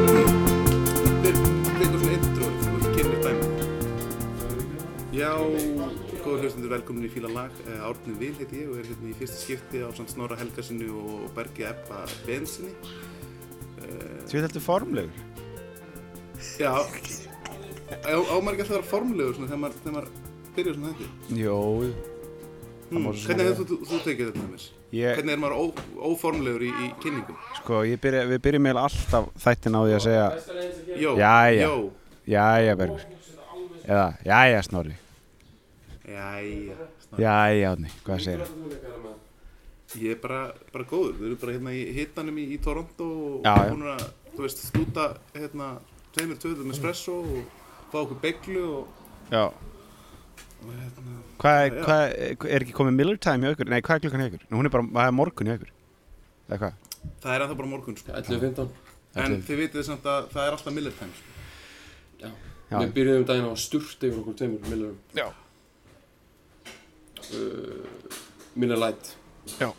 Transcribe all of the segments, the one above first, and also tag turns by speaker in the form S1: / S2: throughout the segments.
S1: Við tekum svona intro og kynum upp dæmi. Já, góður hlustendur, velkomin í Fíla lag. Eh, Árni Vil heiti ég og er hérna í fyrsta skipti á samt Snorra Helgasinni og Bergi Ebba Bensinni.
S2: Þú veit heldur formlegur
S1: Já, á, á maður ekki alltaf að vera formlegur svona þegar maður, þegar maður byrjar svona þetta.
S2: Jó
S1: Hmm.
S2: má svo
S1: Hvernig
S2: segja.
S1: hefur þú, þú tekið þetta með mér?
S2: Ég-
S1: Hvernig er maður ó, óformlegur í, í kynningum?
S2: Sko, ég byrja, við byrjum eiginlega alltaf þættin á því að segja
S1: Jó,
S2: Jæja.
S1: jó,
S2: Jæja, Bergur Eða, jæja, Snorri
S1: jæja. Snorri.
S2: Jæja, Átni, hvað segir það?
S1: Ég er bara, bara góður, við erum bara hérna í hitanum í, í Toronto og
S2: Já, já.
S1: búin að, þú veist, stúta hérna, tveimur tvöðum espresso og fá okkur beglu og,
S2: Já
S1: og hérna, Já,
S2: Hvað,
S1: já.
S2: hvað, er ekki komið Miller Time hjá ykkur? Nei, hvað er klukkan hjá ykkur? Nú, hún er bara, það er morgun hjá ykkur Eða hvað?
S1: það er ennþá bara morgun, sko.
S3: 11.15
S1: En
S2: Ætli-
S1: þið vitið samt að það er alltaf Miller time, sko.
S3: Já.
S2: Já.
S3: Við byrjuðum daginn á sturt yfir okkur tveimur millerum
S2: Já.
S3: uh, Miller Light
S2: Já.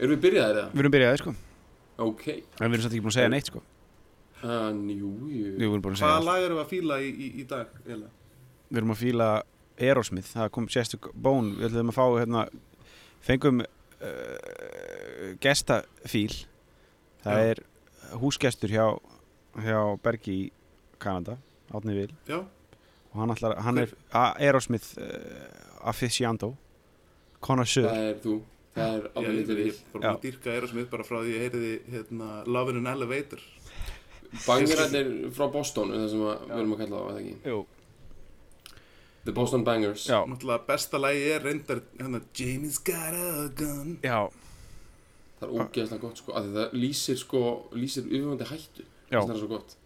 S3: Erum við byrjaðir eða?
S2: Við erum byrjaði, sko
S3: Ok
S2: En við erum samt ekki búin að segja neitt, sko
S3: Hann, jú, jú
S2: Við erum búin að segja
S1: Hvaða
S2: allt.
S1: lag erum við að fíla í, í, í dag, eiginlega?
S2: Við erum að fíla Aerosmith, það kom sérstök bón Við ætlum að fá, hérna, fengum uh, gestafíl Það
S1: Já.
S2: er húsgestur hjá, hjá Bergi í Kanada, Átni Vil
S1: Já,
S2: og hann, ætlar, hann er a- Aerosmith uh, aficionado connoisseur
S3: Það er þú Það er alveg
S1: ég,
S3: litið
S1: ég, ég
S3: vill
S1: bara að dýrka Aerosmith bara frá því ég heyriði, hérna, Love in an Elevator.
S3: Bangerarnir frá Boston er það sem að, við erum að kalla á, eða ekki
S2: Jú,
S3: The Boston Bangers
S2: já,
S1: Náttúrulega besta lagi er reyndar, hérna, Jamie's got a gun.
S2: já,
S3: Það er ógeðslega gott sko af því Það lýsir sko, lýsir yfirvöndi hættu
S2: já,
S3: Það er svo gott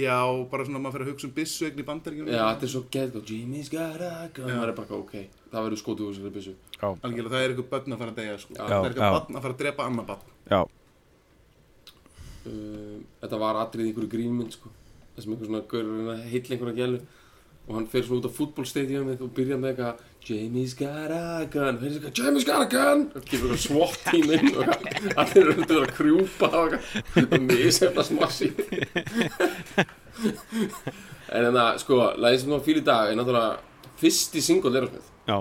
S1: Já, bara svona maður fyrir að hugsa um byssuegn í bandaríkjum.
S3: Já, þetta er svo geðgótt Jimmy's got a gun
S1: Já.
S3: Það er bara eitthvað, ok Það verður skotuð úr þessari byssu
S2: já,
S1: Algjörlega, það er eitthvað börn að fara að deyja, sko.
S3: Já.
S1: það er eitthvað
S2: Já.
S1: börn að fara að drepa annað börn.
S2: já,
S3: Um, þetta var atrið í einhverju grínmynd sko. það sem einhver svona gaur er að reyna að heilla einhverja gælu og hann fer svona út á fútbolstadiumið og byrjar með eitthvað Jamie's got a gun og heyrðis eitthvað Jamie's got a gun og gefur eitthvað svott tím inn og allir eru að vera að krjúpa og eitthvað og misefna smassi en þannig að sko lagið sem þú var fyrir í dag er náttúrulega fyrsti single Aerosmith
S2: já,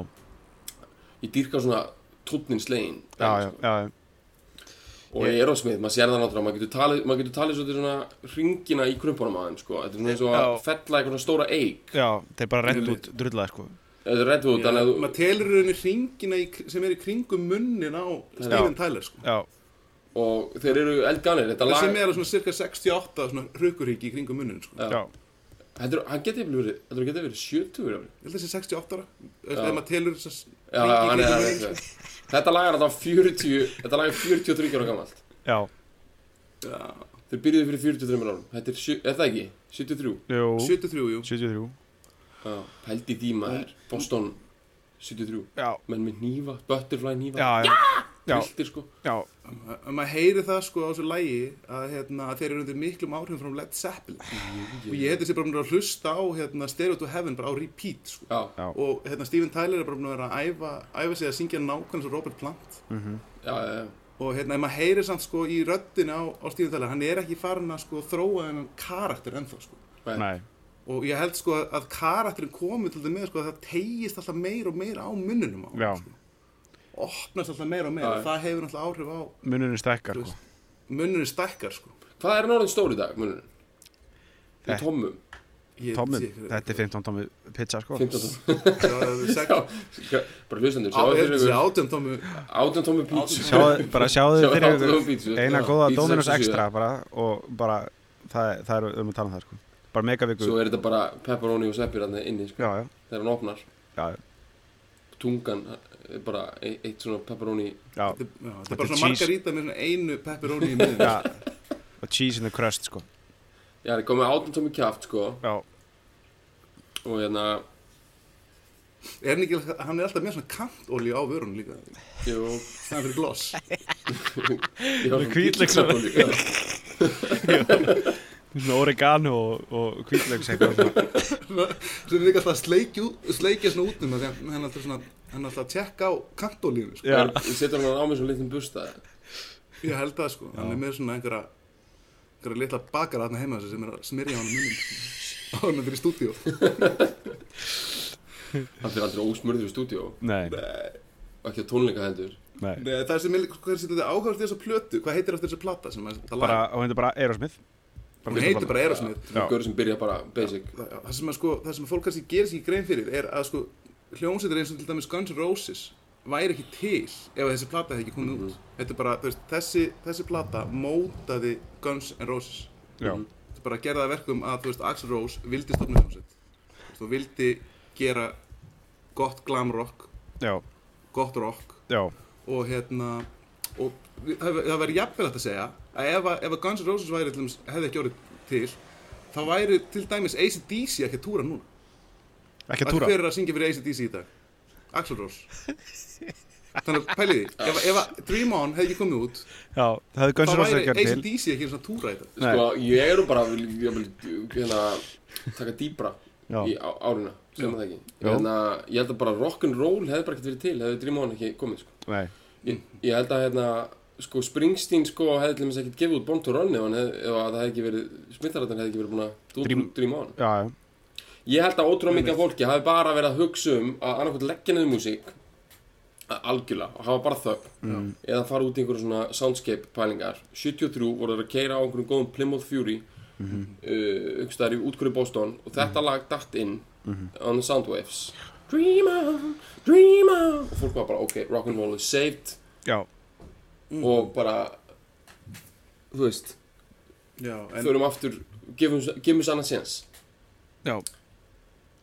S3: ég dýrka svona tónnin slegin
S2: já, já, já,
S3: og ég er á smið, maður sér það náttúrulega maður getur talið, maður getur talið svolítið svona ringina í krumpunum á þeim sko. þetta er svona eins og að
S2: Já.
S3: fella eitthvað svona stóra eig
S2: já, þeir bara rent út drullaði sko
S3: þetta er reddu út
S1: Já,
S3: þannig að þú-
S1: maður telur rauninni hringina í, sem er í kringum munnin á Steven Tyler sko.
S2: Já,
S3: og þeir eru eldganir þetta
S1: það
S3: lag,
S1: sem er á svona cirka 68 svona hrukurhyggi í kringum munnin sko.
S2: já,
S3: heldur, hann geti verið heldur, hann geti verið 70 ári
S1: ég held að það sé 68 ára Þú veist,
S3: Já.
S1: ef maður telur þess
S3: já,
S1: að
S3: hann er, hann er þetta lag er þetta 40 þetta lag er 43 ára gamalt
S2: já,
S1: Já,
S3: þeir byrjuðu fyrir 43 árum þetta er, sjö- er það ekki, 73
S2: jú,
S1: 73 jú
S2: 73
S3: já, held í díma er Boston 73
S2: Já,
S3: menn með nýfa, butterfly nýfa
S2: já, já, já,
S3: viltir sko
S2: já,
S1: ef maður heyri það sko á þessu lægi að, hérna, að þeir eru undir miklum áhrifum frá Led Zeppelin og ég hefði sér bara búin að hlusta á hérna, Stereo to Heaven bara á repeat sko.
S3: já,
S2: já,
S1: og hérna, Steven Tyler er bara búin að vera að æfa, æfa sig að syngja nákvæmlega svo Robert Plant
S3: já, já, já.
S1: og hérna, ef maður heyrir samt sko í röddinu á, á Steven Tyler, hann er ekki farin að sko þróa þennan karakter ennþá sko
S2: nei,
S1: og ég held sko að karakterin komi til þetta með sko að það tegist alltaf meira og meira á munnunum á honum,
S2: já,
S1: sko. opnast alltaf meira og meira
S3: Já.
S1: og það hefur alltaf áhrif á
S2: munurinn stækkar
S1: Þú
S2: sko
S1: veist. munnunum stækkar sko
S3: Hvað er hann orðin stór í dag, munurinn? Í
S2: Þetta-
S3: tommum?
S1: Ég
S2: Tommi,
S1: sé ekki-
S2: þetta er 15 tommi pizza sko
S3: 15 tommum?
S1: Já,
S3: Já, bara hlustandi,
S1: það
S3: sjáðu
S1: er
S3: fyrir
S1: þessi
S3: ykkur
S1: átján tómi
S3: 18 tommi pítsu
S2: sjáðu, bara sjáðu þið
S3: Sjáðu
S2: fyrir
S3: þáttu
S2: ykkur
S3: um pítsu
S2: eina
S3: Já.
S2: góða
S3: Pítsu
S2: Dominos
S3: 67.
S2: extra bara og bara, það, er- það er um að tala um það sko bara megaviku,
S3: Svo er þetta bara pepperoni og sveppir hann inni sko,
S2: já, já,
S3: þegar hann opnar
S2: já, já,
S3: tungan er bara e- eitt svona pepperoni
S2: Já,
S1: Þetta er- já, þetta er
S2: Þetta
S1: bara
S2: er
S1: svona
S2: cheese.
S1: margarita með svona einu pepperoni í miðun
S2: já Og cheese in the crust, sko
S3: Já, það er komið átján tómi kjaft, sko
S2: Já,
S3: Og hérna,
S1: Er hann ekki, hann er alltaf með svona kantolíu á vörunum líka
S3: jú
S1: Það er fyrir gloss
S3: Ég var
S2: Með hvítlauks-
S3: já.
S2: svona oregano og, og kvítlaugs eitthvað sko. svona.
S1: Sem er líka alltaf að sleikja, út- sleikja svona út um það Þannig að hann er alltaf svona, hann er alltaf að tjekka á kantolíu sko.
S2: Já,
S3: Ég setur hann á mig svona litlum busta
S1: Ég held það sko, hann er með svona einhverja einhverja litla bakara þarna heima þessi sem er að smyrja hann munum sko. á hann þetta er í stúdíó
S3: Hann fyrir aldrei ósmörður í stúdíó
S2: nei,
S3: Og ekki á tónleika hendur
S2: nei
S1: Nei, Það sem er líka, hvað er þetta áhugast þess að plötu hvað heitir eftir þessa plata sem að það
S2: bara,
S1: lag
S2: Hún heitir bara Aerosmith Bara
S1: hún
S2: fyrsta
S1: heitir
S2: platan.
S1: bara Erosmith
S2: Já.
S3: Gaur sem byrja bara basic
S1: það það sem, að, sko, það sem að fólk kannski gerir sér ekki grein fyrir er að sko, hljómsveitir eins og til dæmis Guns N' Roses væri ekki til ef að þessi plata hefði ekki komið út þetta er bara, þú veist, þessi, þessi plata mótaði Guns N' Roses
S2: Já,
S1: þetta er bara að gera það að verkum að þú veist, Axl Rose vildi stofna hljómsveit Þú veist, þú vildi gera gott glam rock,
S2: já,
S1: gott rock
S2: já
S1: og hérna og við- það, það væri jafnvel hægt að segja að ef, að- ef að Guns N' Roses væri, til dæmis, hefði ekki orðið til þá væri til dæmis ACDC ekki að túra núna
S2: Ekki að
S1: Að
S2: túra
S1: hver er að syngja fyrir ACDC í dag? Axl Rose Þannig að pæli því ef, ef að Dream On hefði ekki komið út
S2: Já, það hefði
S1: þá
S2: Guns N' Roses
S1: væri
S2: ekki verið til
S1: ACDC ekki eins og túra í dag
S2: Nei.
S3: Sko, ég er nú bara að vil- ég vil, hérna, taka dýbra
S2: Já.
S3: í á- árina, sem það ekki
S2: Jó.
S3: hérna, Ég held að bara rock'n'roll hefði bara ekkert verið til hefði Dream On ekki komið sko.
S2: Nei, Mm.
S3: ég, ég held að hérna, sko, Springsteen sko, hefði til dæmis ekkert gefið út Born to Run ef, hann hefði, ef að það hefði ekki verið smittarrættan hefði ekki verið búin að Dream,
S2: Dream-
S3: Dream On
S2: já, já,
S3: Ég held að ótrúlega mikið af fólki hafi bara verið að hugsa um að annarkvæmt leggja niður músík að algjörlega og hafa bara þöpp eða fara út í einhverju svona soundscape pælingar 73 voru þeir að keira á einhverjum góðum Plymouth Fury uh, einhverstaðar í útkvöru Boston og þetta lag datt inn on the soundwaves Dream on, dream on og fólk var bara ok, rock'n'roll is saved
S2: já,
S3: og bara þú veist,
S1: Já, en
S3: förum aftur gefum, gefum sann að séns
S2: já,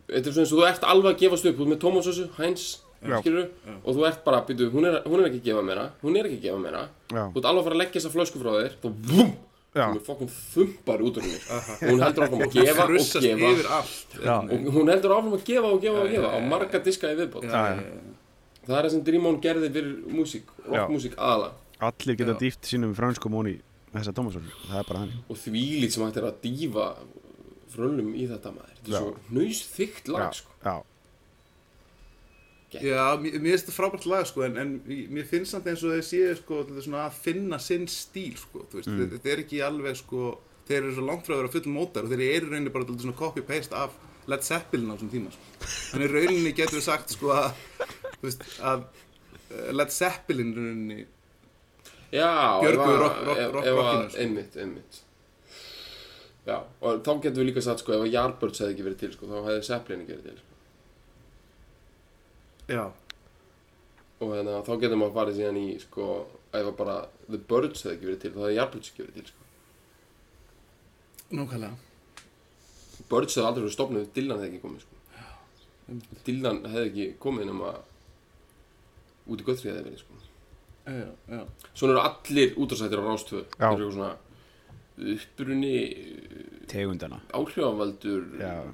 S3: Þetta er svona eins og þú ert alveg að gefast upp, þú ert með Tómasössu, Heinz,
S2: Já.
S3: skilur og þú ert bara, býtu, hún, er- hún er ekki að gefa meira, hún er ekki að gefa meira,
S2: já,
S3: þú ert alveg að fara að leggja þessa flösku frá þér, þú vum,
S2: já,
S3: þú er fokkun þumpar út úr henni, og hún heldur áfram að gefa og
S1: frussast
S3: gefa,
S1: yfir allt
S2: já,
S3: og hún heldur áfram að gefa og gefa og gefa, á marga diska í viðbót.
S2: já, já.
S3: Það er það sem Dream On gerði fyrir músík, rockmúsík aðalega.
S2: Allir geta
S1: Já.
S2: dýft sínum franskum óni þessa Tómasson, það er bara þannig
S3: og þvílít sem hægt er að dýfa frölum í þetta maður, þetta
S2: Já.
S3: er svo nöysþykkt lag,
S2: Já,
S3: sko.
S2: já,
S1: Já, mér mér finnst þetta frábært lag sko, en, en mér finnst samt eins og þeir séu sko, þetta er svona að finna sinn stíl sko, þú veist, þetta er ekki alveg sko, þeir eru svo langt frá að vera full mótar og þeir eru í rauninni bara dálítið svona copy-paste af Led Zeppelin á þessum tíma sko. þannig í rauninni getur við sagt sko, að, þú veist, að eh, Led Zeppelin í rauninni
S3: Já,
S1: Björguðu
S3: ef að-
S1: rock- rock-
S3: ef-
S1: rock-
S3: ef að-
S1: rockinu, sko.
S3: Einmitt, einmitt Já, og þá getum við líka sagt sko, ef að Yardbirds hefði ekki verið til sko, þá hefði Zeppelin ekki verið til sko.
S1: já,
S3: og þannig að þá getum við að fara síðan í sko, ef að bara The Birds hefði ekki verið til þá hefði Yardbirds ekki verið til sko.
S1: nákvæmlega
S3: Birds hefði aldrei verið stopnið, Dylan hefði ekki komið sko. Dylan hefði ekki komið nema út í Guthrie hefði verið sko.
S1: já, já.
S3: Svona eru allir útráðsættir á Rástöðu
S2: Já.
S3: eru svona upprunni
S2: tegundana
S3: áhrifavaldur
S2: Já,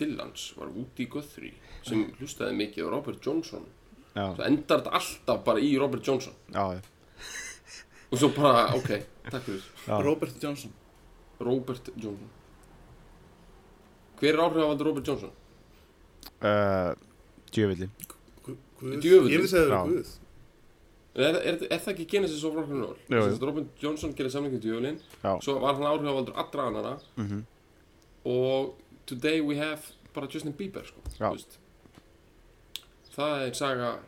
S3: Dylans var Woody Guthrie sem hlustaði mikið á Robert Johnson
S2: já,
S3: svo endar þetta alltaf bara í Robert Johnson
S2: já,
S3: og svo bara, ok, takk fyrir
S2: já,
S1: Robert Johnson
S3: Robert Johnson hver er áhrifavaldur Robert Johnson?
S2: Uh, Djöfilli
S1: Gu- Guð.
S3: Djöfullinn.
S1: ég vil segja það
S2: Já.
S1: eru Guð
S3: Er, er, er það ekki Genesis of Rock'n'Roll?
S2: Jú, jú.
S3: Robert Johnson gerir samlingin djöfulinn
S2: Já.
S3: svo var hann áhrifavaldur allra annara
S2: Mhm.
S3: og today we have bara Justin Bieber sko,
S2: Já.
S3: þú veist. það er saga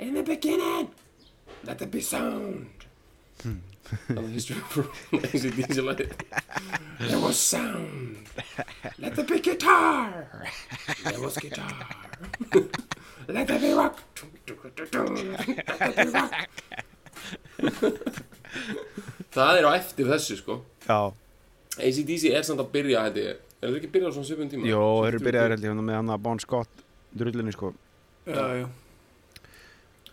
S3: in the beginning let there be sound
S2: Hmm.
S3: on the history of ACDC lagi there was sound let there be guitar there was guitar let there be rock let there be rock það er á eftir þessu sko
S2: Já,
S3: ACDC er samt að byrja held ég Er það ekki byrjað á svona svipum tíma?
S2: Jó, þeir eru
S3: 70
S2: byrjaðir held ég hérna, með hann að Bon Scott drullinni sko
S1: já, já.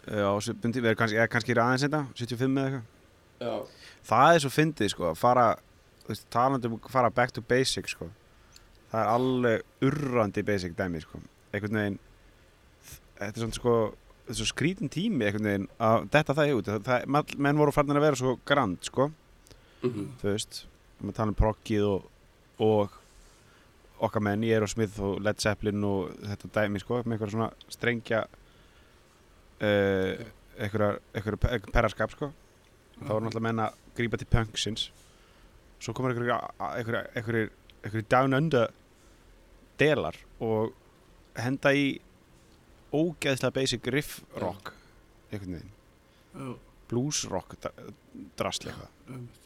S2: Já, svipundi, við erum kannski, eða kannski aðeins þetta, 75 eða eitthvað.
S3: já,
S2: Það er svo fyndið, sko, að fara, þú veist, talandi um að fara back to basic, sko. Það er alveg urrandi basic dæmi, sko. Einhvern veginn, þetta er svona, sko, þetta er svo skrítin tími, einhvern veginn, að detta það í út. Það, það, mall- menn voru farnir að vera svo grand, sko,
S3: mhm,
S2: þú veist. Við tala um proggið og, og okkar menn, ég er og Smith og Led Zeppelin og þetta dæmi, sko, með einhverja svona strengja, uh, einhverja, einhverja pe- perraskap, sko þá var náttúrulega menn að grípa til punksins svo komur einhverjir einhverjir einhverjir down under delar og henda í ógeðslega basic riff rock einhvern veginn,
S1: Já,
S2: blues rock dra- drasl eitthvað
S1: einmitt.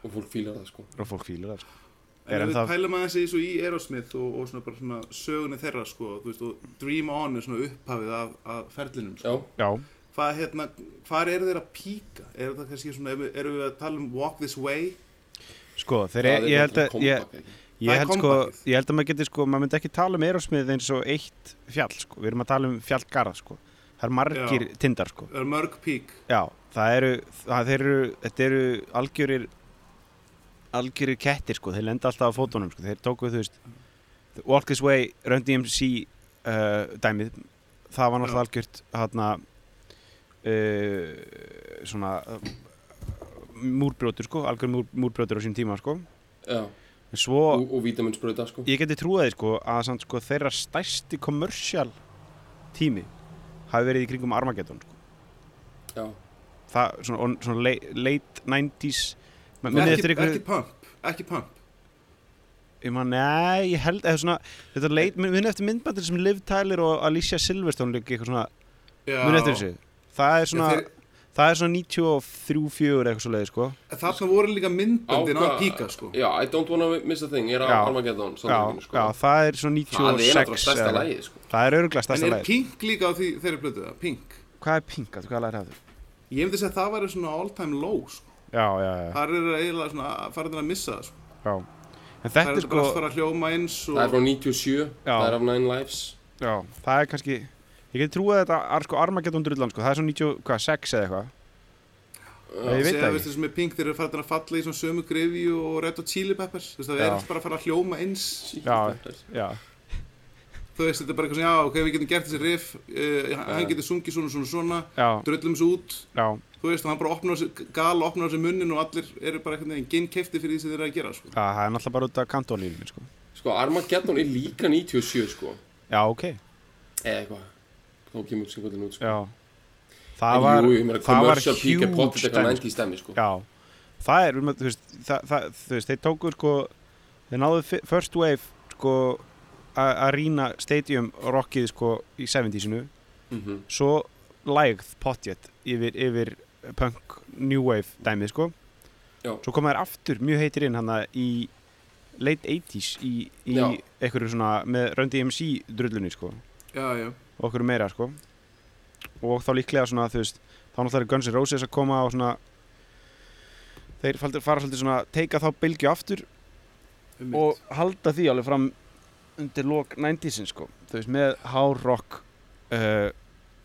S3: og fólk fílar það sko
S2: og fólk fílar það sko. Er
S1: En ef við
S2: ennþá-
S1: pælum aðeins í, svo í Aerosmith og, og svona bara svona sögunni þeirra sko, þú veist, og Dream On er svona upphafið af, af ferlinum sko.
S3: já,
S2: já,
S1: Hvað hérna, hvar eru þeir að píka? Er það kannski svona, eru erum við að tala um Walk This Way?
S2: sko þeir,
S3: það
S2: ég, ég held
S3: náttúrulega
S2: að ég,
S3: comeback, ekki?
S1: Það
S2: ég,
S1: er
S2: held sko,
S1: comebackið.
S2: ég held að maður geti sko maður myndi ekki tala um Erosmið eins og eitt fjall sko, við erum að tala um fjallgarða sko það er margir
S1: Já.
S2: tindar sko
S1: Er mörg pík?
S2: Já, það eru, það þeir eru, þetta eru algjörir, algjörir kettir sko, þeir lenda alltaf á fótunum sko, þeir tóku þú veist, Walk This Way, Run DMC uh, dæmið, það var náttúrulega
S1: Já.
S2: algjört hérna, uh, svona uh, múrbrjótur sko, algjör múr, múrbrjótur á sín tíma sko,
S3: já,
S2: en svo,
S3: og, og vítaminsbröða sko
S2: ég geti trúið því sko að samt sko þeirra stærsti kommersial tími hafi verið í kringum Armageddon sko.
S3: já,
S2: það, svona, on, svona late, late 90s Men,
S1: Ekki,
S2: ekki, eftir ykkur,
S1: ekki pump, ekki pump.
S2: ég man, nei, ég held eða svona, þetta leit, muni eftir myndbandir sem Liv Tyler og Alicia Silverstone líka eitthvað svona,
S1: Já.
S2: muni eftir þessu það er svona,
S1: Já, þeir-
S2: það er svona 93-4 eitthvað svo leiði, sko
S1: Þarna voru líka myndböndin
S3: Á
S1: að
S3: hvað-
S1: píka sko.
S3: já, I don't wanna miss a thing er
S2: Já.
S3: á Armageddon
S2: já,
S3: soundtrackinu, sko.
S2: já, það er svona
S3: það
S2: 96
S3: er náttúrulega stærsta
S2: eða-
S3: lagið sko
S2: það er öruglega
S1: En
S2: stærsta
S1: er
S2: lagi
S1: pink líka á því þeirri blötu það? Pink?
S2: hvað er pink, að þú hvað lagir hafðu?
S1: Ég myndi segja að það væri svona all time low sko.
S2: já, já, já,
S1: Það eru eiginlega svona farin að missa það sko.
S2: já en
S1: Það
S2: þetta
S1: eru
S2: er
S1: bara
S2: sko,
S1: að fara að hljóma eins og...
S3: það er frá 97,
S2: Já.
S3: það er af Nine Lives
S2: já, það er kannski ég geti trúið að þetta, ar- sko, Armageddon drullan, sko, það er svona 96 eða eitthvað
S3: Já.
S2: ég veit
S1: segja,
S2: það
S1: veistu,
S2: ekki,
S1: sem er pink, þeir eru farin að falla í svona sömu grifju og Red Hot Chili Peppers, þú veist, það
S2: Já.
S1: er allt bara að fara að hljóma eins,
S2: Já. já
S1: þú veist, þetta er bara eitthvað svona, já, ok, við getum gert þessi riff, uh, hann getur sungið svona, svona, svona,
S2: Já,
S1: drullum þessu út,
S2: já,
S1: þú veist, og hann bara opnar þessi, gal opnar þessi munnin og allir eru bara einhvern veginn ginnkefti fyrir því sem þeir eru að gera, sko.
S2: já, það er náttúrulega bara út af kantónlínunni, sko.
S3: sko Armageddon er líka 97 sko
S2: Já, ok,
S3: eða eitthvað þá kemur singulinn út sko
S2: já.
S3: En
S2: Það var,
S3: jú, ég meina,
S2: það var
S3: commercial peak er pottet
S2: huge
S3: eitthvað
S2: dæmi,
S3: 90 stemmi sko
S2: Já, það er, um, þú veist, það, það, þú veist, þeir tóku, sko, þeir náðu fi- first wave, sko, a- arena stadium rockið, sko, í 70-sinu,
S3: Mhm.
S2: svo lægð pottet yfir, yfir punk new wave dæmið, sko.
S3: Já.
S2: Svo koma þeir aftur mjög heitir inn hana í late 80s í, í
S3: Já.
S2: einhverju svona, með Run DMC drullunni, sko.
S1: Já, já,
S2: og okkur meira sko og þá líklega svona þú veist þá náttúrulega er Guns N' Roses að koma og svona þeir faldi- fara svolítið svona teika þá bylgju aftur
S1: um
S2: og halda því alveg fram undir lok 90sin sko þú veist með hard rock uh,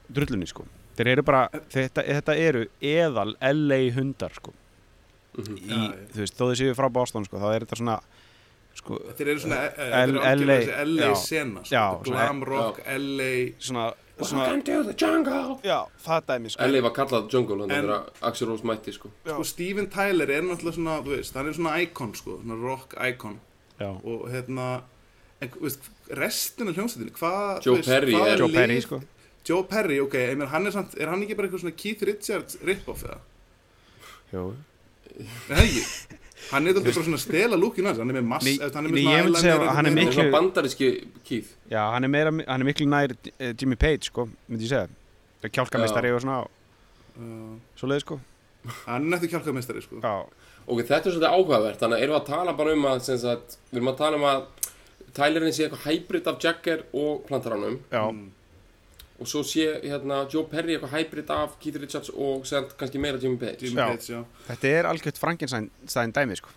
S2: drullunni sko þeir eru bara þetta, þetta eru eðal LA hundar sko
S3: Mhm.
S2: í,
S1: Já, já.
S2: þú veist þó þið séu frá Boston sko þá er þetta svona sko
S1: Þeir eru svona, eh, eh, þetta er
S2: LA,
S1: ágæmlega þessi
S2: já.
S1: LA-sena, sko,
S2: Já,
S1: þetta
S2: svona-
S1: glam rock, LA,
S2: svona, svona
S3: Welcome to the jungle
S2: já það dæmi sko
S3: Ellie var kallað jungle
S1: En-
S3: en það er að Axel Rose mætti sko
S1: sko Steven Tyler er náttúrulega svona, þú veist, hann er svona icon sko, svona rock icon
S2: já.
S1: og hérna, en þú veist, restin af hljómsveitinu, hvað, þú
S3: Joe Perry
S1: hvað
S3: er-
S2: Joe Perry
S1: lið-
S2: sko
S1: Joe Perry, ok, ég meina, hann er samt, er hann ekki bara eitthvað svona Keith Richards rip-off eða?
S2: Jó.
S1: Nei, ekki, hann er þetta bara svona að stela lúkinu hans, hann er með mass,
S2: Nei,
S1: eða hann er
S2: nei,
S1: með
S2: ég myndi segja að
S1: eyeliner,
S2: hann
S1: einhvern
S2: er miklu-
S3: það er
S1: veginn.
S3: svona bandaríski kýð
S2: Já, hann er, meira, hann er miklu nær eh, Jimmy Page, sko, myndi ég segja. Það er kjálkamestari og svona, svo leiði, sko.
S1: Já, hann er nættu kjálkameistari sko,
S2: Já,
S3: ok, þetta er svolítið áhugavert þannig að erum við að tala bara um að sem sagt, við erum að tala um að Tylerinn sé eitthvað hybrid af Jagger og plantaranum
S2: já,
S1: Mm.
S3: og svo sé hérna Joe Perry eitthvað hybrid af Keith Richards og sem kannski meira Jimmy Page
S1: Jimmy
S2: Já.
S1: Page, já.
S2: þetta er algjört Frankenstein dæmi, sko.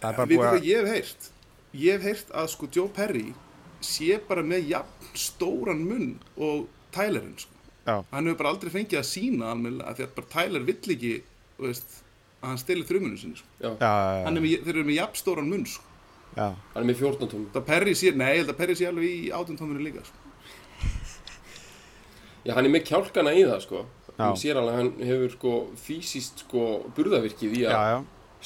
S2: Það er bara
S1: Við
S2: búið
S1: hvað
S2: að,
S1: ég hef heyrt, ég hef heyrt að sko Joe Perry sé bara með jafn stóran munn og Tylerinn sko.
S2: Já.
S1: hann hefur bara aldrei fengið að sína almennilega af því að bara Tyler vill ekki þú veist, að hann steli þrjumunum sinni sko.
S3: Já,
S2: já, já,
S1: Hann er með, þeir eru með jafnstóran mun sko.
S2: já,
S3: hann er með 14 tómi
S1: það perri sér, nei, ég held að perri sér alveg í átjöntóminu líka sko.
S3: Já, hann er með kjálkana í það sko
S2: Já.
S3: Hún sér alveg að hann hefur sko fysiskt sko burðavirkið í
S2: já,
S3: að
S2: já,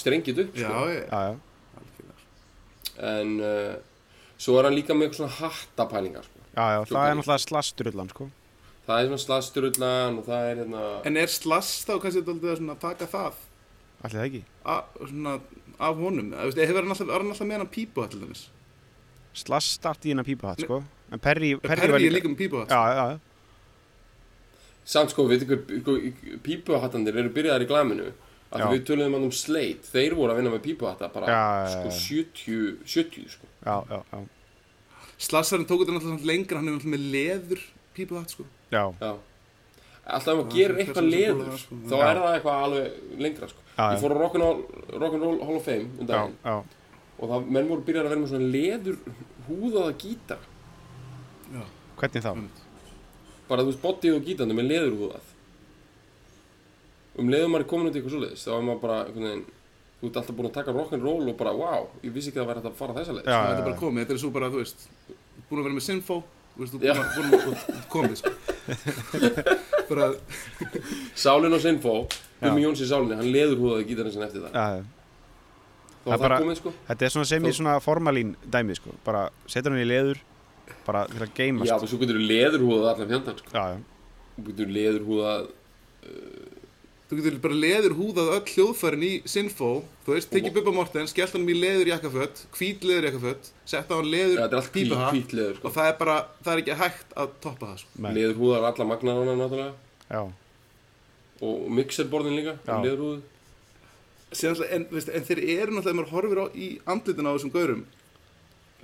S3: strengið upp
S1: já,
S3: sko.
S1: ég,
S2: já, já.
S1: algjörlega, sko.
S3: En uh, svo er hann líka með eitthvað svona hattapælingar sko.
S2: Já, já,
S3: Svo
S2: það
S3: bara-
S2: er náttúrulega slasturullan, sko.
S3: Það er svona slasturullan og það er hérna
S1: en er slass þá kannski dálítið að svona taka það
S2: Allir það ekki?
S1: a, svona, af honum Eða, þú veist, hefur hann alltaf, var hann alltaf með hann pípu allir þess
S2: Slass starti í hennar pípuhatt, sko. En Perry, Perry,
S1: perri
S2: var
S1: er
S2: líka...
S1: líka með pípu
S2: Já, já, já.
S3: Samt sko, við ykkur pípuhattandir eru byrjaðar í glæminu að
S2: Já.
S3: við töluðum hann um sleit, þeir voru að vinna með pípuhatta bara
S2: Já, já,
S3: sko
S2: já.
S3: 70, 70 sko.
S2: Já, já, já.
S1: slassarinn tók þetta alltaf lengra hann er alltaf með leður pípu sko.
S2: Já,
S3: Já. Alltaf ef maður
S1: Já,
S3: gerir
S1: það er
S3: eitthvað
S1: sem sem
S3: leður,
S1: bólar, sko.
S3: þá
S2: Já.
S3: er það eitthvað alveg lengra sko.
S2: Já, já.
S3: Ég fór á Rock'n'Roll Rock and Roll Hall of Fame um
S2: já,
S3: daginn
S2: já.
S3: og það menn voru byrjar að vera með svona leður húðaða gítar.
S1: já,
S2: Hvernig þá?
S1: einmitt.
S3: Bara þú veist, bodyð og gítandi með leður húðað. Um leiðum maður er komin út í eitthvað svoleiðis, þá er maður bara einhvern veginn, þú ert alltaf búin að taka Rock'n'Roll og bara, wow, ég vissi ekki að það væri hægt að fara þessa leið.
S2: Já,
S1: Það er
S2: já,
S1: þetta bara
S2: já.
S1: komið, þetta er svo bara, þú veist, búin að vera með Sinfo, þú veist, þú
S3: Já.
S1: búin að- búin að búin að komið, sko. bara,
S3: Sálin og Sinfo, Gumi
S2: Já.
S3: Jóns í sálinni, hann leður húðaði gítarinn sinni eftir það.
S2: Já, já.
S3: Þá
S2: Það
S3: var
S2: bara-
S3: það komið sko.
S2: Þetta er svona sem í svona formalín dæmi, sko. Bara setur hann í leður, bara til að
S3: Já,
S2: geymast.
S3: og svo getur þú leður húðað allan fjandann sko.
S2: Já, já.
S3: Þú getur leður
S1: þú getur bara leður húðað öll hljóðfærin í Sinfo, þú veist, tekið Bubba Mortens, skellt hann í leður jakkafött, hvít leður jakkafött, setta hann leður
S3: Já, þetta er allt hvít,
S1: pípuhatt
S3: hvít leður sko.
S1: og það er bara, það er ekki hægt að toppa það, sko.
S2: Nei.
S3: Leður húðar alla magnarana náttúrulega
S2: Já,
S3: Og mixerborðin líka, um
S2: Já.
S3: leður húðu
S1: Síðan, alltaf- en, veist, en þeir eru náttúrulega, ef maður horfir á, í andlitin á þessum gaurum,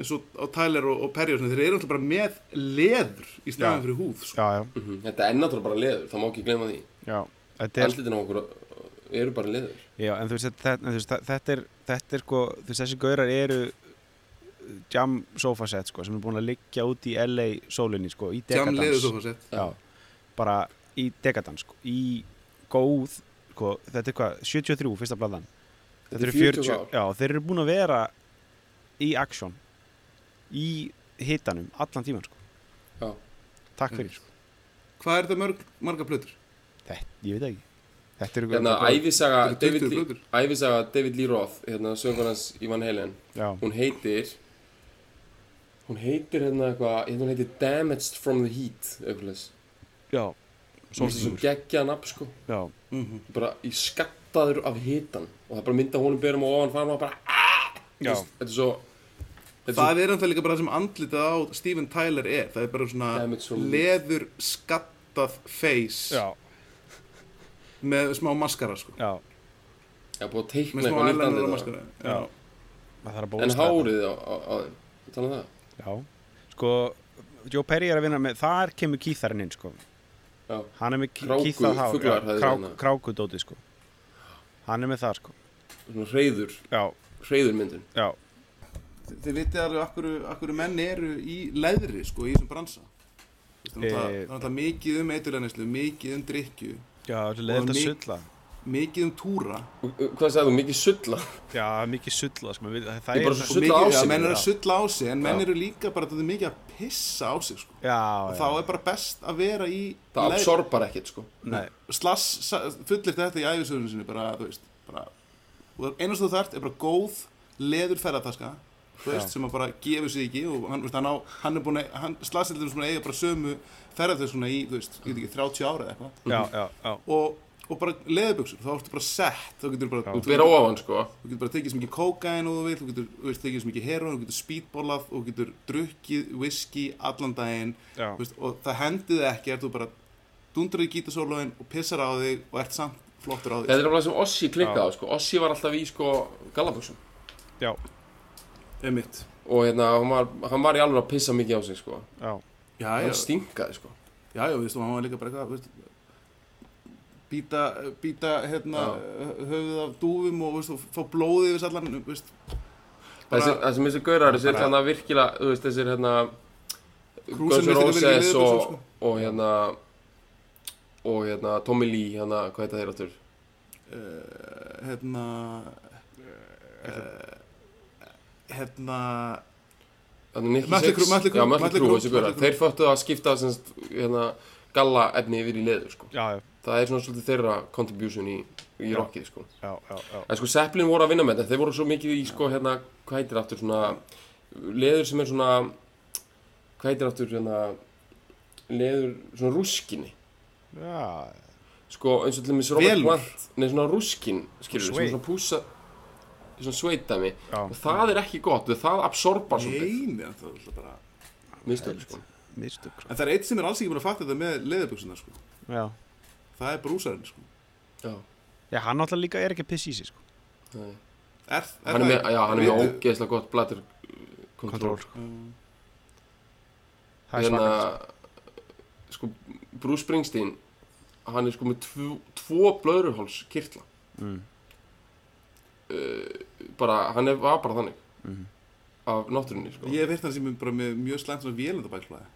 S1: eins og á Tyler og, og Perry og svona, þeir eru náttúrulega bara með leður í staðan
S2: Já.
S1: fyrir húð, sko.
S2: já, já.
S3: Mhm. Þetta er náttúrulega bara leður, það má ekki glemma því
S2: já. Þetta er,
S3: Andlitin á okkur uh, eru bara leður
S2: já, en þú veist, þetta, en þú veist, þa- þetta er, þetta er, sko, þú veist, þessi gaurar eru uh, jam sofa set, sko, sem er búin að liggja út í LA sólinni, sko, í
S1: Jam
S2: dekadans.
S1: leður sofasett.
S2: já, bara í Degadans sko, í góð sko, þetta er hvað, 73, fyrsta bladan
S3: Þetta er 40 ár.
S2: já, þeir eru búin að vera í action í hitanum, allan tíman sko.
S3: Já.
S2: takk fyrir,
S3: Mhm.
S2: sko.
S1: Hvað er þetta mörg, marga plötur?
S2: þetta, ég veit ekki þetta eru
S3: Hérna, æfisaga
S1: Þetta eru
S3: David,
S1: 20
S3: Lee-
S1: plötur.
S3: ævisaga David Lee Roth, hérna, söngur hans í Van Halen
S2: já,
S3: Hún heitir Hún heitir hérna eitthvað, hérna hún heitir Damaged from the Heat, eitthvað leys
S2: já,
S3: Svo er svo
S2: sólstígur
S3: geggjaðan upp, sko
S2: já,
S3: bara í skattaður af hitan og það er bara mynda honum berum og ofan fara og bara
S2: já,
S3: þetta er svo þetta er
S1: Það er ennþá líka bara það sem andlitað á Steven Tyler er. Það er bara
S3: Damn it, so
S1: svona
S3: weak.
S1: leður skattað face
S2: já,
S1: með smá maskara sko.
S2: já.
S3: svo ég er búið að teikna
S1: Með smá
S3: eitthvað
S1: eyeliner og
S3: nýtt andlit á það.
S1: maskara. Já.
S2: maður þarf að
S3: en
S2: bósta
S3: hárið á, á, á þeim Ég tala um það
S2: þetta. já, sko Joe Perry er að vinna með, þar kemur kýþarinn inn sko,
S3: já,
S2: hann er með
S3: Kráku-
S2: kýþað hár
S3: fuglar
S2: já,
S3: hefði
S2: krák,
S3: þarna.
S2: krákudótið sko hann er með það sko
S3: svona reyður
S2: já,
S3: reyður myndun
S2: já,
S1: Þi- Þið vitið alveg akkur, akkur menn eru í leðri sko, í þessum bransa. Þú veist, Það er náttúrulega-
S2: Eh.
S1: það er náttúrulega mikið um eiturlæðnislu, mikið um drikju,
S2: já, þetta er
S1: Og
S2: leiðilegt að
S1: mik-
S2: sulla
S1: mikið um túra.
S3: hvað sagði þú, mikið sulla
S2: já, mikið sulla, sko, við, það
S3: Ég
S2: er
S3: bara
S1: Og
S2: svo-
S3: Sulla
S1: mikið-
S3: á
S1: já,
S3: sig,
S1: Menn eru
S2: já.
S1: að sulla á sig, en menn
S3: Já.
S1: eru líka bara þetta er mikið að pissa á sig sko.
S2: já,
S1: Og
S2: já,
S1: þá er bara best að vera í
S3: það
S1: leðri.
S3: absorbar ekkert sko
S2: nei,
S1: Slass sa- fullyrti þetta í æfisöðunum sinni bara, þú veist, bara og einast þú þarft er bara góð leður ferðartaska, þú veist,
S2: Já.
S3: Já.
S1: sem að bara gefur sig ekki og hann, þú veist, hann, á, hann er búin að, hann slassildum svona eiga bara sömu ferðartaskuna í, þú veist, ég veit ekki, 30 ára eða eitthvað
S2: já, já, já
S1: og, og bara leðubuxur, þá ertu bara sett þá getur bara,
S2: Já.
S1: þú,
S3: þú ber á ofan sko
S1: þú getur bara tekið sem ekki kókain og þú vil, þú getur, þú veist, tekið sem ekki heroin, þú getur speedballað og þú getur drukkið whisky allan daginn
S2: já,
S1: Þú veist, og það hendið ekki ef þú bara dundur í gítasólóin og pissar á þig og ert samt flottur á
S3: þetta
S1: þig
S3: er alveg sem Ossi klikkað á sko Ossi var alltaf í sko gallabuxum
S2: já,
S1: er mitt
S3: og hérna, hann var, hann var í alveg að pissa mikið á sig sko
S2: já,
S1: já, já,
S3: hann stinkaði sko
S1: já, já, veist, og hann var líka bara eitthvað þú veist, býta, býta hérna, höfuð af dúfum og, veist, og fá blóði yfir allan veist, Bara-
S3: Þessi- það sem þessi gaurar, þessir
S2: Bara-
S3: hérna virkilega, þú veist, þessir hérna
S1: Krúsin
S3: Guns
S1: vildi
S3: N'
S1: ekki vera í sko.
S3: Roses
S1: liðbuxum,
S3: og,
S1: sko.
S3: og hérna og hérna Tommy Lee, hérna, hvað heita þeir áttur?
S1: uh, hérna uh, hérna
S3: Þannig Hérna, Nicky
S1: Mötley
S3: Six
S1: Crüe, Mötley Crüe,
S3: Já, Mötley
S1: Mötley
S3: Crüe,
S1: Crüe,
S3: þessi góra
S1: Mötley Crüe.
S3: Þeir föttu að skipta semst, hérna, galla efni yfir í leður sko.
S2: já, já,
S3: Það er svona svolítið þeirra contribution í, í
S2: Já.
S3: rockið sko.
S2: já, já, já.
S3: En sko Zeppelin voru að vinna með þetta, þeir voru svo mikið í sko hérna, hvað heitir aftur svona, leður sem er svona, hvað heitir aftur hérna, leður svona rúskinni.
S2: já.
S3: Sko eins og til dæmis Robert
S1: Velur.
S3: Plant, nei svona rúskin, skilur sem er
S2: Suede.
S3: svona púsa, svona sveitami.
S2: Já.
S3: Og það er ekki gott, það absorbar svolítið,
S1: neini en það er alltaf bara
S3: mistöður sko.
S2: mistök sko.
S1: en það er eitt sem er alls ekki búin að fatta þetta með leðaböksuna sko.
S2: já.
S1: það er brúsarinn sko.
S3: Já,
S2: já, hann alltaf líka er ekki að pissa í sig sko.
S3: nei.
S1: er, er
S3: Hann er
S1: það-
S3: með, já, hann er með
S1: Vitið-
S3: ógeðslega gott bladder kontról.
S2: kontról sko.
S1: Mm.
S2: það er svakar sko.
S3: Hérna, sko, Bruce Springsteen, hann er sko með tvo, tvo blöðruháls kirtla.
S2: mm.
S3: Eh, bara, hann er, var bara þannig
S2: Mhm.
S3: af náttúrunni sko.
S1: ég hef hirt hann sem er bara með mjög slæmt svona vélendabækflæði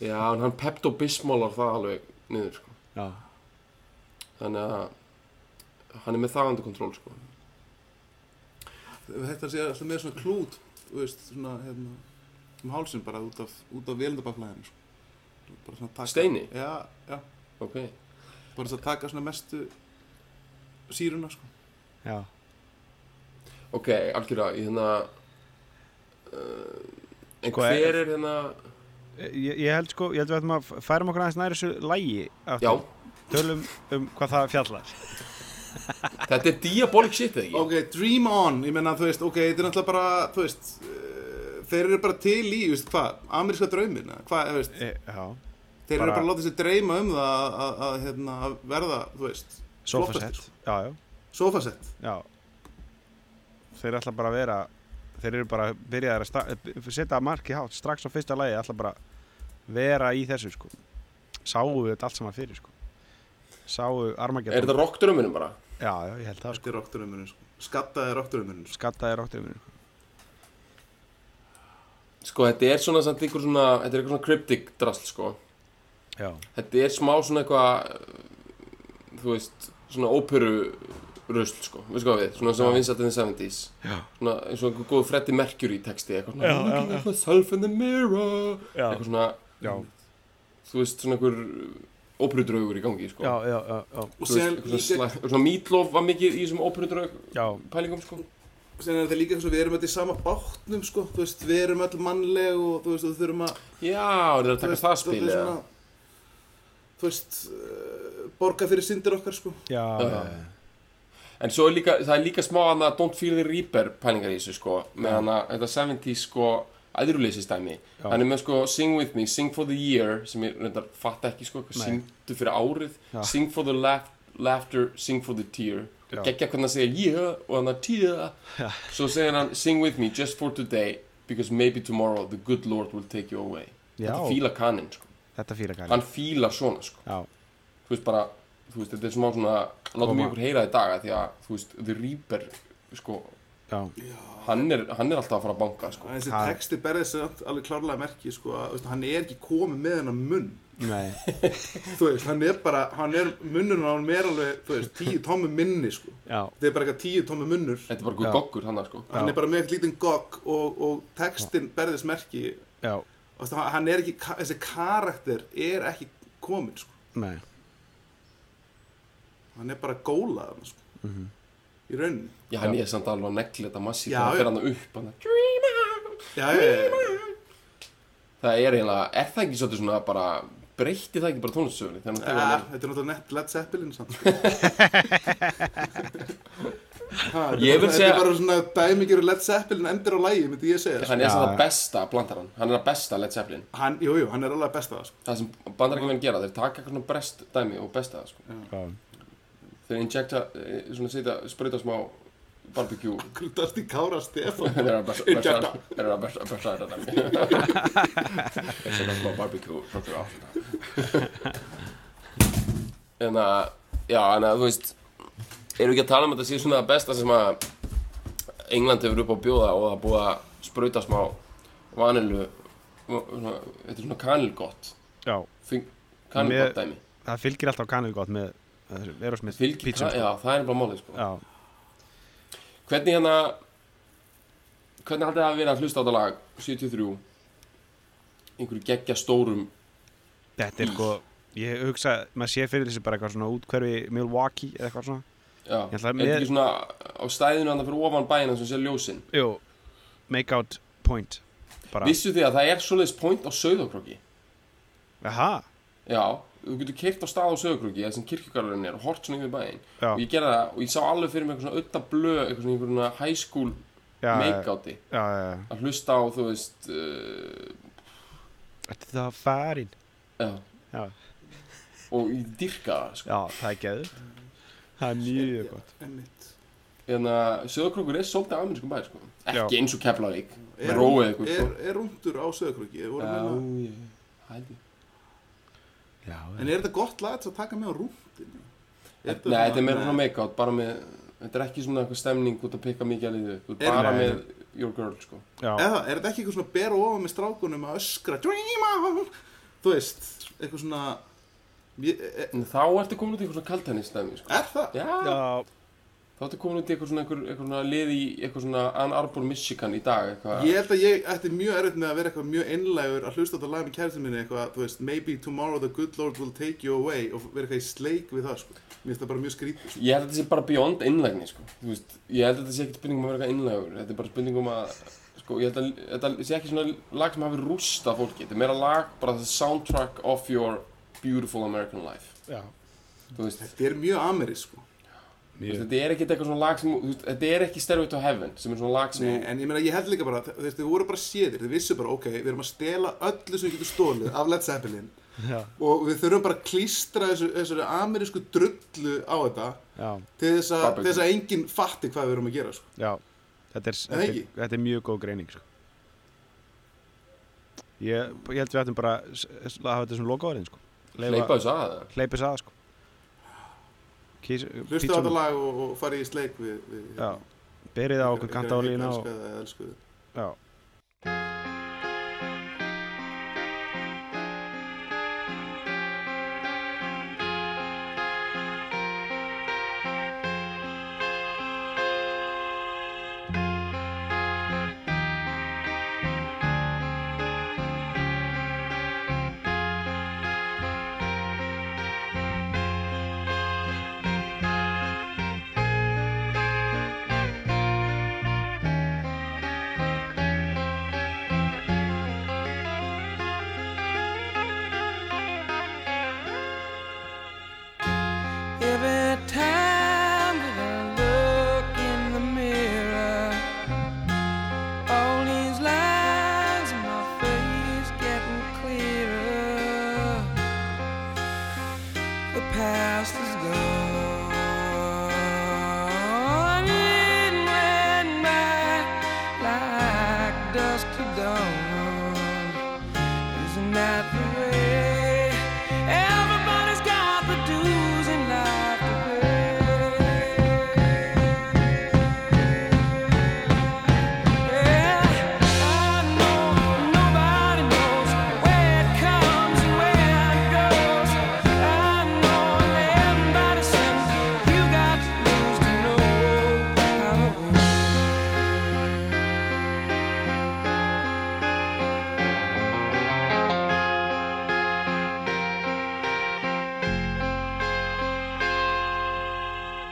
S3: já, en hann Pepto Bismolar það alveg niður sko.
S2: já,
S3: þannig að hann er með það undir kontról sko.
S1: þetta sé alltaf með svona klút þú veist, svona hérna, um hálsinn bara út af, út af vélendabækflæðin sko. bara svona taka
S3: Steini?
S1: já, já
S3: ok,
S1: bara þess að taka svona mestu síruna sko
S2: já,
S3: ok, algjörlega í þannig að en
S2: Sko,
S3: hver er hérna
S2: ég, ég held sko ég held við ættum að f- færum okkur aðeins næri þessu lægi
S3: já,
S2: tölum um hvað það fjallar
S3: þetta er diabolic shit eða ekki
S1: ok, dream on, ég menna þú veist ok, þetta er náttúrulega bara, þú veist eh, þeir eru bara til í, þú veist hvað ameríska draumin, eða hvað, þú veist
S2: e, já,
S1: þeir eru
S2: bara-
S1: bara að láta sér dreyma um það að, að, að, hérna, að verða, þú veist
S2: sofasett
S1: flottasti,
S2: já, já,
S1: sko. sofasett,
S2: já þeir ætla bara að vera þeir eru bara byrjaðar að sta- setja marki hátt strax á fyrsta lægi ætla bara að vera í þessu sko sáu þetta allt saman fyrir sko sáu
S3: er
S2: armageddon
S3: þetta rockdrömmunum bara
S2: já, já, ég held það sko
S1: þetta er rockdraumurinn sko. skattaði rockdraumurinn sko.
S2: skattaði ráttiruminu
S3: sko, þetta er svona, samt ykkur svona þetta er eitthvað svona cryptic drasl sko.
S2: já,
S3: þetta er smá svona eitthvað uh, þú veist, svona óperu rusl, sko, veistu hvað við svona sem var vinsætt in the 70s
S2: Já.
S3: svona eins og einhver góð Freddie Mercury texti eitthvað
S2: Já, já,
S3: svona,
S2: já.
S3: looking at myself in the mirror
S2: Já.
S3: eitthvað svona,
S2: já,
S3: þú veist, svona einhver óperudraugur í gangi, sko
S2: já, já, já, já.
S1: og
S3: Þú
S1: síðan
S3: veist, eitthvað
S1: líka,
S3: svona, slæ- svona mítlof var mikið í þessum óperudraug
S2: já.
S3: pælingum, sko
S1: síðan er þetta líka svo, við erum öll í sama bátnum sko, þú veist, við erum öll mannleg og þú veist, og við þurfum að
S3: já, er það að
S1: þú
S3: taka
S1: veist,
S3: það spil
S1: þetta er
S3: eða?
S1: svona, þú veist, eh, borga fyrir syndir okkar sko
S2: já,
S3: Já.
S2: já.
S3: En svo er líka, það er líka smá hann að Don't Fear the Reaper pælingar í þessu sko með hann að þetta 70 sko æðruleysi
S2: Já.
S3: hann er með sko Sing With Me, Sing For The Year sem ég reyndar fatta ekki sko hvað
S2: Nei.
S3: syngdu fyrir árið
S2: Já.
S3: Sing For The laugh, Laughter, Sing For The Tear
S2: Já.
S3: geggja hvernig hann segir yeah og hann
S2: Já.
S3: að tear svo segir hann Sing With Me just for today because maybe tomorrow the good lord will take you away
S2: Já.
S3: þetta fíla kaninn sko
S2: þetta fíla kæri
S3: hann fíla svona sko
S2: já,
S3: þú veist bara, þú veist, þetta er smá svona látum
S2: Koma.
S3: við ykkur heyra það í dag af því að, þú veist, The Reaper sko,
S2: já,
S3: hann er, hann er alltaf að fara að banka, sko
S1: En þessi
S2: Það-
S1: texti berði sér samt alveg klárlega merki sko, að, veist, hann er ekki komið með hennar munn
S2: nei
S1: þú veist, hann er bara, hann er munnurinn á hann er alveg, þú veist, tíu tómi minni sko.
S2: já,
S1: þetta er bara eitthvað tíu tómi munnur
S3: þetta er bara guð
S2: Já.
S3: goggur hann, sko
S1: hann er bara með eitthvað lítinn gogg og, og textin berðis merki
S2: já,
S1: og veist, hann- hann er ekki, ka- þessi karakter er ekki kominn sko.
S2: nei
S1: hann er bara gólað sko.
S3: Mhm.
S1: í rauninni
S3: já, hann er samt alveg að negli þetta massi
S1: Já,
S3: þegar hann
S1: já.
S3: fer hann upp, hann er Dreamer
S1: já, já, já, já.
S3: það er eiginlega, er það ekki svolítið svona bara breytti það ekki bara tónlistsögunni þegar hann
S1: Ja,
S3: tegur hann
S1: þetta er náttúrulega nett Led Zeppelin samt sko. ha, þetta er
S3: Ég vil
S1: bara-
S3: segja-
S1: Þetta er bara svona dæmingjur Led Zeppelin endur á lægi, myndi ég segja
S3: er
S1: sko.
S3: hann er samt
S2: Já.
S3: að besta, blandar hann hann er að besta Led Zeppelin
S1: hann, Jú, jú, hann er alveg besta það sko.
S3: það sem bandarækjumenn gera, þeir taka eitthvað svona brest dæmi og besta það, sko
S2: já,
S3: þeir injecta, eh, svona setja, sprauta smá barbecue
S1: Krutast í Kára Stefán
S3: Þeir eru að besta-
S1: Injecta.
S3: besta- þeir eru að besta- besta þetta dæmi Ég setja smá barbecue Sjóttur átta En að Já, en að þú veist Erum við ekki að tala um að þetta sé svona það besta sem að England hefur upp á að bjóða og það er búið að sprauta smá vanilu svona- Þetta er svona kanilgott
S2: já Með-
S3: Kanilgott dæmi
S2: það fylgir alltaf kanil gott með Erosmith
S3: Fylgir,
S2: pítsum
S3: það,
S2: sko.
S3: já, það er bara málið sko.
S2: já,
S3: Hvernig hérna Hvernig haldið það að vera að hlusta á þetta lag 73 einhverju geggja stórum
S2: þetta er sko ég hugsa, maður sé fyrir þessu bara eitthvað svona útkverfi Milwaukee eða eitthvað svona
S3: Já,
S2: Ég
S3: er
S2: ætla
S3: þetta
S2: að með-
S3: ekki svona á stæðinu hann fyrir ofan bæina sem sé ljósin
S2: Jú, make out point bara,
S3: Vissu þið að það er svoleiðis point á Sauðárkróki
S2: aha
S3: Já, þú getur keirt á stað á Sauðárkróki það sem kirkjugarðurinn er og hort svona yfir bæin
S2: já,
S3: og ég gerði það og ég sá alveg fyrir mig eitthvað svona ötta blö eitthvað svona einhverjum high school
S2: já, já,
S3: make-outi
S2: já, já.
S3: að hlusta á þú veist uh,
S2: Ertu það farin?
S3: já.
S2: Já.
S3: og ég dyrka það sko.
S2: Já, það er geður Það er mjög gott
S1: Einmitt.
S3: en að Söðakrókur Hérna, er svolítið amerískum bæ sko.
S2: Já.
S3: ekki eins og Keflavík
S1: Er-
S3: Róið eitthvað,
S1: Er,
S3: sko.
S1: er rúndur á söðakröki? En
S3: já, já, hældi
S2: Já,
S1: er þetta gott lag til að taka með á rúndinu?
S3: Nei, þetta er meira svona make-out, bara með, þetta er ekki svona eitthvað stemning út að pikka mikið að liðu, þú ert
S1: Er-
S3: bara
S2: Nei.
S3: með your girl, sko.
S2: já,
S1: Eða, er þetta ekki eitthvað svona að bera ofan með strákunum að öskra Dream on, þú veist, eitthvað svona ég, e-
S3: En þá ertu komin út í eitthvað svona kaltennistæmi, sko.
S1: Er það?
S3: Já,
S2: já,
S3: þá ertu komin út í eitthvað svona, eitthvað, eitthvað svona lið í eitthvað svona Ann Arbor, Michigan í dag, eitthvað.
S1: Ég held að ég ætti mjög erfitt með að vera eitthvað mjög einlægur að hlusta á þetta lag með kærtum minni eitthvað, þú veist, maybe tomorrow the good lord will take you away og vera eitthvað í sleik við það, sko. Mér finnst það bara mjög skrítið, sko.
S3: Ég held að þetta sé bara beyond innlægni, sko. Þú veist, ég held að þetta sé ekkert spurning um að vera eitthvað innlægur, þetta er bara spurning um að, sko, ég held að þetta sé ekki svona lag sem hafi rústa fólki, þetta er meira lag, bara the soundtrack of your beautiful American life.
S2: já
S3: Þú veist,
S1: Þetta er mjög amerísk, sko.
S3: Þú veist, Þetta er ekkert eitthvað svona lag sem, þú veist, þetta er ekki Stairway to Heaven sem er svona lag sem,
S1: Nei, en ég meina, ég held líka bara, þú veist, þau voru bara séðir, þau vissu bara, ok, við erum að stela öllu sem við getum stólið af Led Zeppelin
S2: Já,
S1: og við þurfum bara að klístra þessu, þessari amerísku drullu á þetta
S2: já,
S1: til þess, að,
S3: Barbecue.
S1: til þess að enginn fatti hvað við erum að gera, sko.
S2: já. Þetta, er,
S1: En
S2: þetta, er,
S1: ekki?
S2: þetta er mjög góð greining sko. ég, ég held við ættum bara s- s- að hafa þetta sem lokaðurinn sko.
S3: hleypa þessu að það.
S2: Hleypa þess að sko. Kís,
S1: Hlusta á þetta lag og, og fara í sleik við... við
S2: Já, berið á okkur kanta á lína og,
S1: Elsku eða elsku.
S2: já,
S4: Every time that I look in the mirror, all these lines in my face getting clearer. The past is gone. It went by like dusk to dawn. Isn't that the way? Everybody's got the dues in life to pay. Yeah, I know nobody knows where it comes and where it goes. I know everybody says you got dues to know how to win.